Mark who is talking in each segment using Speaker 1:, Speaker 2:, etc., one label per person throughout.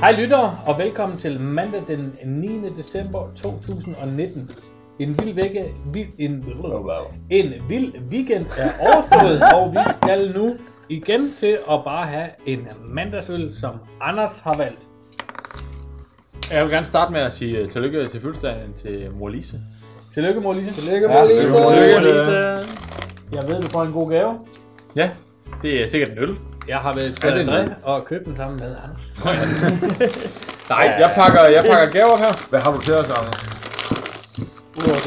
Speaker 1: Hej lyttere, og velkommen til mandag den 9. december 2019. En vild, vække, vi, en, en vild weekend er overstået, og vi skal nu igen til at bare have en mandagsøl, som Anders har valgt.
Speaker 2: Jeg vil gerne starte med at sige øh, tillykke til fødselsdagen til mor Lise.
Speaker 1: Tillykke, mor Lise.
Speaker 3: Tillykke, ja, Lise.
Speaker 2: tillykke, Mor Lise.
Speaker 1: Jeg ved, du får en god gave.
Speaker 2: Ja, det er sikkert en øl.
Speaker 1: Jeg har været
Speaker 3: Er det
Speaker 1: til André
Speaker 3: nu?
Speaker 1: og købt den sammen med Anders.
Speaker 2: Nej, jeg pakker, jeg pakker gaver her.
Speaker 3: Hvad har du til os, Anders?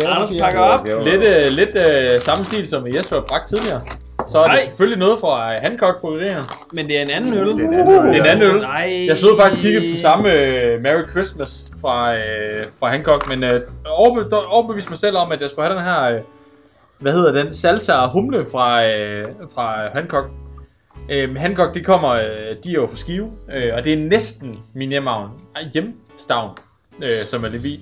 Speaker 1: Anders pakker op.
Speaker 2: Lidt, øh, lidt øh, samme stil som Jesper har bragt tidligere. Så er det
Speaker 4: Nej.
Speaker 2: selvfølgelig noget fra øh, Hancock Bryggeri her.
Speaker 4: Men det er en anden øl.
Speaker 3: Det er en anden øl.
Speaker 2: Det er en anden øl.
Speaker 4: Nej.
Speaker 2: Jeg stod faktisk og kiggede på samme øh, Merry Christmas fra, øh, fra Hancock, men øh, overbe- overbeviste mig selv om, at jeg skulle have den her, øh, hvad hedder den, salsa og humle fra, øh, fra Hancock. Øh, Hancock, de kommer, øh, de er jo fra Skive, øh, og det er næsten min hjemavn, ej, hjemstavn, øh, som er Levi.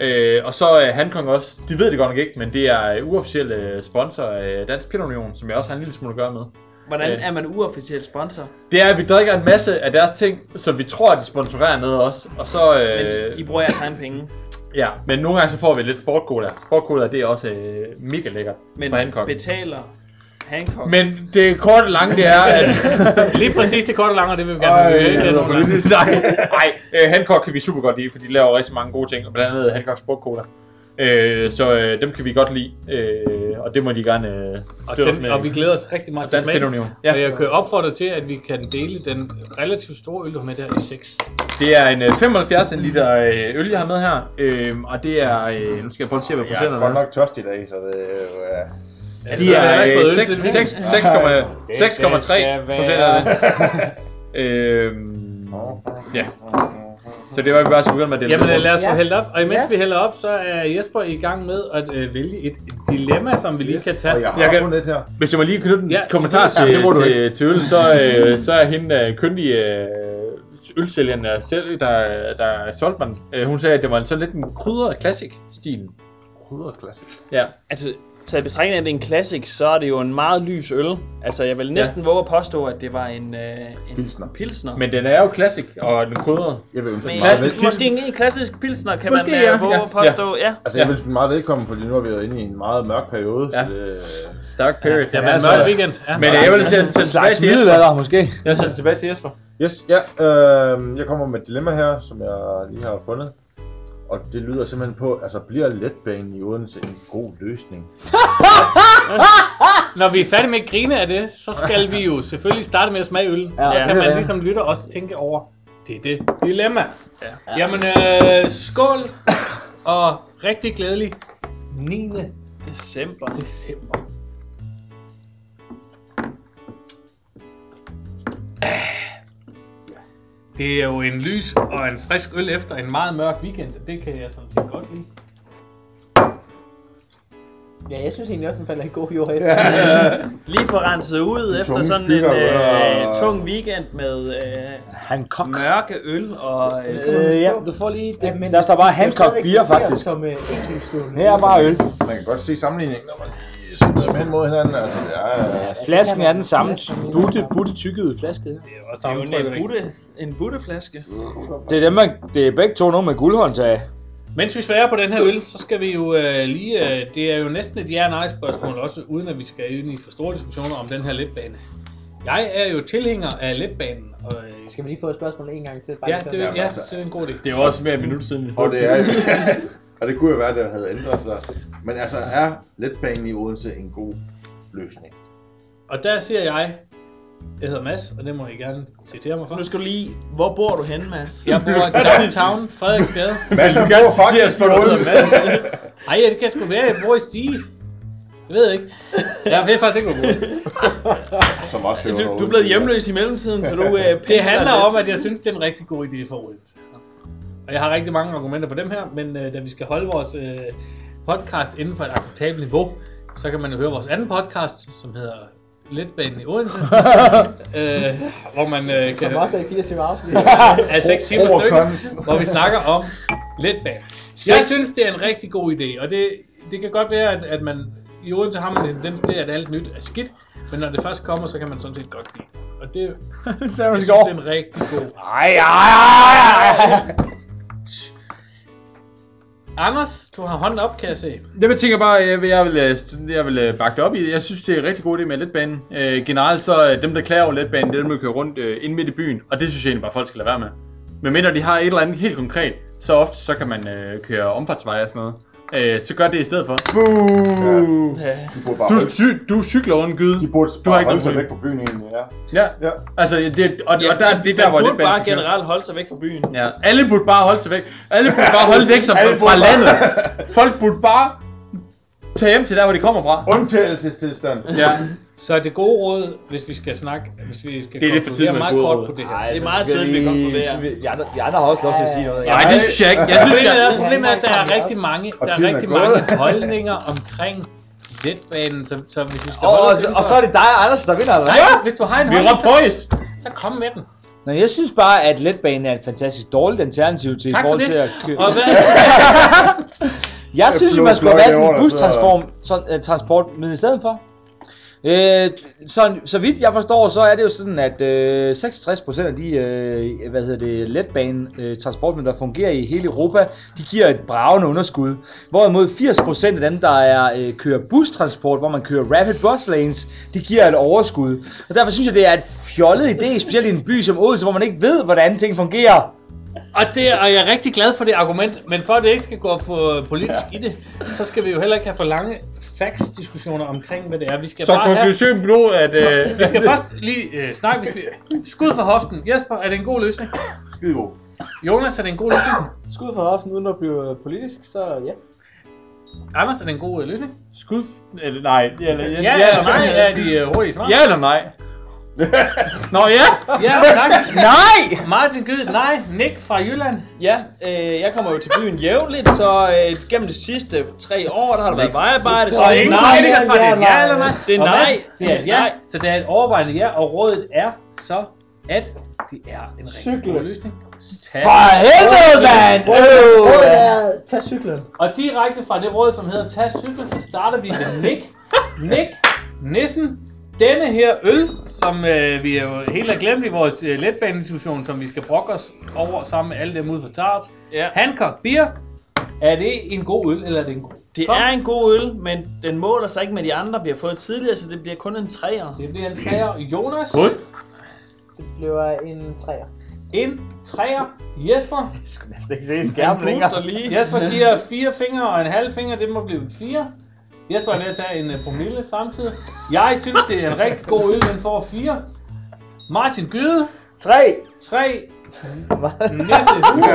Speaker 2: Øh, og så øh, Hancock også, de ved det godt nok ikke, men det er øh, uofficielle sponsor af Dansk Pinot Union, som jeg også har en lille smule at gøre med.
Speaker 4: Hvordan er man uofficiel sponsor?
Speaker 2: Det er, at vi drikker en masse af deres ting, som vi tror, at de sponsorerer ned os. Og så... Øh,
Speaker 4: Men I bruger jeres egen penge.
Speaker 2: Ja, men nogle gange så får vi lidt sportcola. Sportcola, det er også øh, mega lækkert
Speaker 4: Men
Speaker 2: fra Hancock.
Speaker 4: betaler Hancock.
Speaker 2: Men det korte og lange, det er, at... Øh,
Speaker 1: Lige præcis det korte og lange, og det vil vi gerne
Speaker 3: Ej,
Speaker 1: have. Det er
Speaker 3: jeg
Speaker 1: sådan,
Speaker 3: hedder
Speaker 1: der er.
Speaker 3: politisk.
Speaker 2: Nej, nej øh, Hancock kan vi super godt lide, for de laver rigtig mange gode ting. og Blandt andet Hancock Sportcola. Øh, så øh, dem kan vi godt lide, øh, og det må de gerne øh,
Speaker 1: Og,
Speaker 2: støtte os
Speaker 1: den,
Speaker 2: med.
Speaker 1: og vi glæder os rigtig meget
Speaker 2: Og Dansk
Speaker 1: smagen.
Speaker 2: Pinot Noir.
Speaker 1: Ja.
Speaker 2: Ja.
Speaker 1: Og jeg kan opfordre til, at vi kan dele den relativt store øl, du har med der i 6.
Speaker 2: Det er en øh, 75 liter øh, øl, jeg har med her, øh, og det er... Øh, nu skal jeg prøve at se, hvad
Speaker 3: Jeg er
Speaker 2: procenterne
Speaker 3: godt
Speaker 2: er.
Speaker 3: nok tørst i dag, så det er jo... ja.
Speaker 2: De
Speaker 1: jeg har Altså, ikke fået øl
Speaker 2: er
Speaker 1: siden.
Speaker 2: øh, seks- seks-
Speaker 1: Det-
Speaker 2: 6,3
Speaker 1: det skal være-
Speaker 2: procent af det. Øhm, ja, så det var vi bare så begyndt med at dele
Speaker 1: Jamen
Speaker 2: det.
Speaker 1: øh, lad os få
Speaker 5: Ja.
Speaker 1: hældt op, og imens
Speaker 5: Ja.
Speaker 1: vi hælder op, så er Jesper i gang med at øh, vælge et dilemma, som vi lige kan tage.
Speaker 3: Og jeg
Speaker 2: Jeg
Speaker 3: har
Speaker 2: kan-
Speaker 3: fundet et her.
Speaker 2: Hvis jeg må lige knytte en
Speaker 1: Ja,
Speaker 2: ja, kommentar til,
Speaker 3: selvfølgelig. Ja, det må du
Speaker 2: til, til øl, så, øh, så er hende øh, kyndige øh, ølsælgeren, der, selv, der, der solgte mig den, øh, hun sagde, at det var en sådan lidt en krydret classic stil.
Speaker 3: Krydret klassik.
Speaker 2: Ja,
Speaker 4: Altså, taget i betragtning af, at det er en classic, så er det jo en meget lys øl. Altså, jeg vil næsten våge at påstå, at det var en, øh, en
Speaker 3: Pilsner.
Speaker 4: pilsner.
Speaker 2: men den er jo classic, og den er krydret.
Speaker 3: Jeg vil ønske
Speaker 4: Men
Speaker 3: den meget
Speaker 4: klassisk,
Speaker 3: velkommen.
Speaker 4: måske en, en klassisk pilsner, kan
Speaker 2: Måske,
Speaker 4: man
Speaker 2: ja.
Speaker 4: ja. våge
Speaker 2: Ja.
Speaker 4: at påstå. Ja.
Speaker 3: Altså, jeg
Speaker 2: Ja.
Speaker 3: vil ønske den meget velkommen, fordi nu har vi været inde i en meget mørk periode, så
Speaker 2: Ja.
Speaker 3: det...
Speaker 2: Dark Period.
Speaker 1: Ja,
Speaker 2: Ja,
Speaker 1: men
Speaker 2: altså,
Speaker 1: mørk weekend. Ja.
Speaker 2: men øh, jeg vil sende sende tilbage til Jesper.
Speaker 5: måske.
Speaker 2: Jeg sender tilbage til Jesper.
Speaker 3: Yes, ja. Øh, jeg kommer med et dilemma her, som jeg lige har fundet. Og det lyder simpelthen på, altså bliver letbanen i Odense en god løsning?
Speaker 1: Når vi er færdige med at grine af det, så skal vi jo selvfølgelig starte med at smage øl. Ja,
Speaker 5: Ja,
Speaker 1: så
Speaker 5: ja,
Speaker 1: kan
Speaker 5: ja,
Speaker 1: man
Speaker 5: ja.
Speaker 1: ligesom lytter også tænke over, det er det dilemma. Ja. Jamen, øh, skål og rigtig glædelig 9.
Speaker 4: December.
Speaker 1: december. Det er jo en lys og en frisk øl efter en meget mørk weekend. og Det kan jeg sådan set godt lide.
Speaker 5: Ja, jeg synes egentlig også, den falder i god jord efter.
Speaker 4: Lige for renset ud efter
Speaker 3: tunge
Speaker 4: sådan en
Speaker 3: skygger,
Speaker 4: øh,
Speaker 3: og-
Speaker 4: tung weekend med øh,
Speaker 5: Han kom.
Speaker 4: mørke øl og... Øh,
Speaker 5: Øh, ja, du får lige... Ja, men der står bare Hancock Beer, faktisk. Som
Speaker 6: øh,
Speaker 5: uh, enkeltstående. Her er bare øl.
Speaker 3: Man kan godt se sammenligningen, når man lige smider dem hen mod hinanden. Altså, det er...
Speaker 5: Flasken er den samme.
Speaker 6: Flasken.
Speaker 5: Butte, butte tykkede flaske. her.
Speaker 1: Det er også
Speaker 4: Det er jo en,
Speaker 1: sammentrykkeri.
Speaker 4: øh, butte, en butteflaske.
Speaker 5: Det er, dem, man, det er begge to nogen med guldhåndtag.
Speaker 1: Mens vi sværer på den her øl, så skal vi jo øh, lige... Øh, det er jo næsten et ja-nej-spørgsmål også, uden at vi skal ind i for store diskussioner om den her letbane. Jeg er jo tilhænger af letbanen, og øh,
Speaker 6: Skal vi lige få et spørgsmål en gang til? Bare
Speaker 1: ja,
Speaker 6: lige så-
Speaker 1: det,
Speaker 3: Jamen,
Speaker 1: ja,
Speaker 3: altså.
Speaker 1: det er en god idé.
Speaker 2: Det er jo også mere et minut siden, vi
Speaker 3: Og det
Speaker 2: den.
Speaker 3: er Og det kunne jo være, at det havde ændret sig. Men altså, er letbanen i Odense en god løsning?
Speaker 1: Og der siger jeg, jeg hedder Mads, og det må I gerne citere mig for.
Speaker 4: Nu skal du lige... Hvor bor du henne, Mads?
Speaker 1: Jeg bor i downtown, Frederiksgade.
Speaker 3: Masser af gode faktisk i Odense.
Speaker 1: Ej, det kan sgu være, jeg bor i Stige. Jeg ved ikke. Jeg ved faktisk ikke, hvor jeg bor.
Speaker 3: Som også hører
Speaker 4: Du, du er blevet hjemløs i mellemtiden, så du øh,
Speaker 1: Det handler om, at jeg synes, det er en rigtig god idé for Odense. Og jeg har rigtig mange argumenter på dem her, men øh, da vi skal holde vores øh, podcast inden for et acceptabelt niveau, så kan man jo høre vores anden podcast, som hedder Letbanen i Odense, øh, hvor man øh,
Speaker 6: Som
Speaker 1: kan
Speaker 6: også er i 24 afsnit.
Speaker 1: er 6 timer
Speaker 3: Over
Speaker 1: stykke,
Speaker 3: cons.
Speaker 1: hvor vi snakker om letbanen. Jeg synes, det er en rigtig god idé, og det, det kan godt være, at, at man i Odense har man en tendens til, at alt nyt er skidt, men når det først kommer, så kan man sådan set godt lide det. Og det, jeg
Speaker 4: Sarah
Speaker 1: synes, det er en rigtig god.
Speaker 4: Ej, ej, ej, ej.
Speaker 1: Anders, du har hånden op, kan jeg se.
Speaker 2: Jeg tænker bare, jeg vil, jeg vil, øh, st- jeg vil øh, bakke det op i det. Jeg synes, det er en rigtig god idé med letbanen. Øh, generelt så, øh, dem der klager over letbanen, det er dem, der kører rundt øh, ind midt i byen. Og det synes jeg egentlig bare, folk skal lade være med. Men mindre de har et eller andet helt konkret, så ofte så kan man øh, køre omfartsveje og sådan noget. Øh, så gør det i stedet for. Buh! Ja.
Speaker 3: De burde bare
Speaker 2: Du,
Speaker 3: holde,
Speaker 2: cy- du cykler under en gyde.
Speaker 3: de burde
Speaker 2: du har
Speaker 3: bare
Speaker 2: ikke
Speaker 3: holde
Speaker 2: nogen
Speaker 3: sig
Speaker 2: ryg.
Speaker 3: væk fra byen egentlig, ja.
Speaker 2: Ja,
Speaker 3: Ja.
Speaker 2: altså det, og, og der, det er der, hvor
Speaker 4: man
Speaker 2: det
Speaker 4: burde bare
Speaker 2: skal køre.
Speaker 4: generelt holde sig væk fra byen.
Speaker 2: Ja, alle burde bare holde sig væk. Alle burde bare holde væk sig
Speaker 3: Alle
Speaker 2: fra,
Speaker 3: burde
Speaker 2: fra
Speaker 3: bare-
Speaker 2: landet. Folk burde bare tage hjem til der, hvor de kommer fra.
Speaker 3: Undtagelsestilstand.
Speaker 2: Ja,
Speaker 1: Så det gode råd, hvis vi skal snakke, hvis vi skal
Speaker 2: Det er lidt for
Speaker 1: konkludere
Speaker 2: tidligt med
Speaker 1: meget
Speaker 2: gode
Speaker 1: kort
Speaker 2: råd.
Speaker 1: på det her.
Speaker 4: Ej, det er
Speaker 5: altså,
Speaker 4: meget
Speaker 5: skal
Speaker 4: tidligt, vi
Speaker 5: vi-
Speaker 4: konkluderer.
Speaker 5: Jeg andre, jeg andre har også lov til at sige noget.
Speaker 2: nej, det synes jeg ikke. Jeg synes,
Speaker 1: Problemet er,
Speaker 2: jeg...
Speaker 1: problemet er, at der er rigtig mange,
Speaker 3: Og
Speaker 1: der er
Speaker 3: tiden er
Speaker 1: rigtig
Speaker 3: gået.
Speaker 1: mange holdninger omkring letbanen, så, så hvis vi skal
Speaker 5: Og, og,
Speaker 1: holde os
Speaker 5: og, så er det dig, Anders, der vinder, eller hvad?
Speaker 1: Nej, hvis du har en
Speaker 2: Vi er
Speaker 1: holdning,
Speaker 2: ret boys.
Speaker 1: så, så kom med den.
Speaker 5: Nå, jeg synes bare, at letbanen er et fantastisk dårligt alternativ til i
Speaker 1: Tak for
Speaker 5: forhold
Speaker 1: det.
Speaker 5: til at køre.
Speaker 1: Og hvad,
Speaker 5: Jeg synes,
Speaker 3: blå
Speaker 5: man skulle have valgt
Speaker 3: blok herovre,
Speaker 5: en
Speaker 3: der sidder-
Speaker 5: bustransport sådan, uh, transportmiddel i stedet for. Øh, så, så vidt jeg forstår, så er det jo sådan, at øh, 66% af de øh, hvad hedder det, letbane øh, transportmidler, der fungerer i hele Europa, de giver et bravende underskud. Hvorimod 80% af dem, der er, øh, kører bustransport, hvor man kører rapid bus lanes, de giver et overskud. Og derfor synes jeg, det er et fjollet idé, specielt i en by som Odense, hvor man ikke ved, hvordan ting fungerer.
Speaker 1: og, det, og jeg er rigtig glad for det argument, men for at det ikke skal gå på politisk i det, så skal vi jo heller ikke have for lange facts-diskussioner omkring, hvad det er. Vi skal
Speaker 2: Så
Speaker 1: bare have...
Speaker 2: konklusionen blev, at... Øh,
Speaker 1: Vi skal først lige øh, snakke, vi skal... skud for hoften. Jesper, er det en god løsning?
Speaker 3: Skidegod.
Speaker 1: Jonas, er det en god løsning?
Speaker 6: Skud for hoften uden at blive øh, politisk, så ja.
Speaker 1: Anders, er det en god øh, løsning?
Speaker 2: skud... Eller, nej. Ja, eller,
Speaker 1: Ja, ja eller nej, er de øh, hurtige svar?
Speaker 2: Ja eller nej. Nå ja.
Speaker 1: ja tak.
Speaker 5: Nej!
Speaker 1: Martin Gyd, nej. Nick fra Jylland.
Speaker 4: Ja, øh, jeg kommer jo til byen jævnligt, så øh, gennem de sidste tre år, der har der været vejarbejde.
Speaker 1: Så ingen politikere fra det er et ja eller nej.
Speaker 4: Det er
Speaker 1: Og
Speaker 4: nej.
Speaker 1: hvad? Det er et ja. Så det er et overvejende ja, og rådet er så, at det er en rigtig god løsning. Tag.
Speaker 5: For helvede, mand!
Speaker 6: Rådet
Speaker 5: Øh!
Speaker 6: er, tag cyklen.
Speaker 1: Og direkte fra det råd, som hedder Tag cyklen, så starter vi med Nick. Nick, Nissen, denne her øl, som øh, vi er jo helt har glemt i vores øh, letbaneinstitution, som vi skal brokke os over sammen med alle dem ude fra Tart.
Speaker 4: Ja.
Speaker 1: Hancock Beer, er det en god øl, eller er det en god?
Speaker 4: Det
Speaker 1: Kom.
Speaker 4: er en god øl, men den måler sig ikke med de andre, vi har fået tidligere, så det bliver kun en træer.
Speaker 1: Det bliver en træer. Jonas,
Speaker 2: Gud.
Speaker 6: Det bliver en træer.
Speaker 1: en træer. Jesper,
Speaker 5: Jeg skulle næsten ikke se
Speaker 4: Jeg
Speaker 5: skærmen længere.
Speaker 4: booster lige.
Speaker 1: Jesper giver fire fingre og en halv finger, det må blive en fire. Jesper er ved at tage en øh, promille samtidig. Jeg synes, det er en rigtig god øl, den får fire. Martin Gyde,
Speaker 5: Tre!
Speaker 1: tre. Næste uge.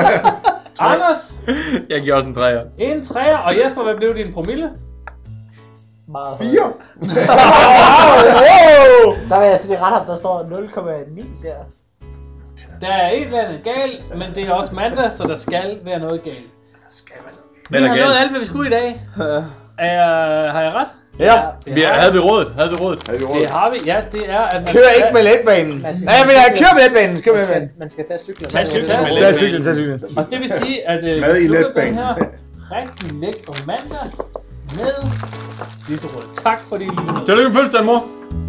Speaker 1: Anders,
Speaker 2: Jeg giver også en træer.
Speaker 1: en træer. Og Jesper, hvad blev din promille?
Speaker 6: Meget højt.
Speaker 3: Fire.
Speaker 6: Der vil jeg sige, det ret ham, der står 0,9 der.
Speaker 1: Der er et eller andet galt, men det er også mandag, så der skal være noget galt. Vi
Speaker 2: Hvad er der
Speaker 1: har nået
Speaker 2: galt?
Speaker 1: alt, hvad vi skulle i dag. Er, jeg- har jeg ret?
Speaker 5: Ja,
Speaker 2: Vi, havde vi rådet? Havde vi rådet?
Speaker 3: Er vi rundt?
Speaker 1: Det har vi. Ja, det er, at man
Speaker 5: kør
Speaker 1: skal-
Speaker 5: ikke med letbanen. Nej, men jeg kører med letbanen, kør med
Speaker 6: Man skal,
Speaker 5: letbanen.
Speaker 6: man skal tage cyklen.
Speaker 1: Tag cyklen.
Speaker 6: Det er
Speaker 5: Tag cyklen, tag cyklen.
Speaker 1: Og det vil sige, at øh,
Speaker 3: Mad i
Speaker 1: vi slutter på den
Speaker 3: letbanen.
Speaker 1: her rigtig lækker mandag med disse råd. Tak fordi I lyttede med.
Speaker 2: Tillykke med fødselsdagen, mor.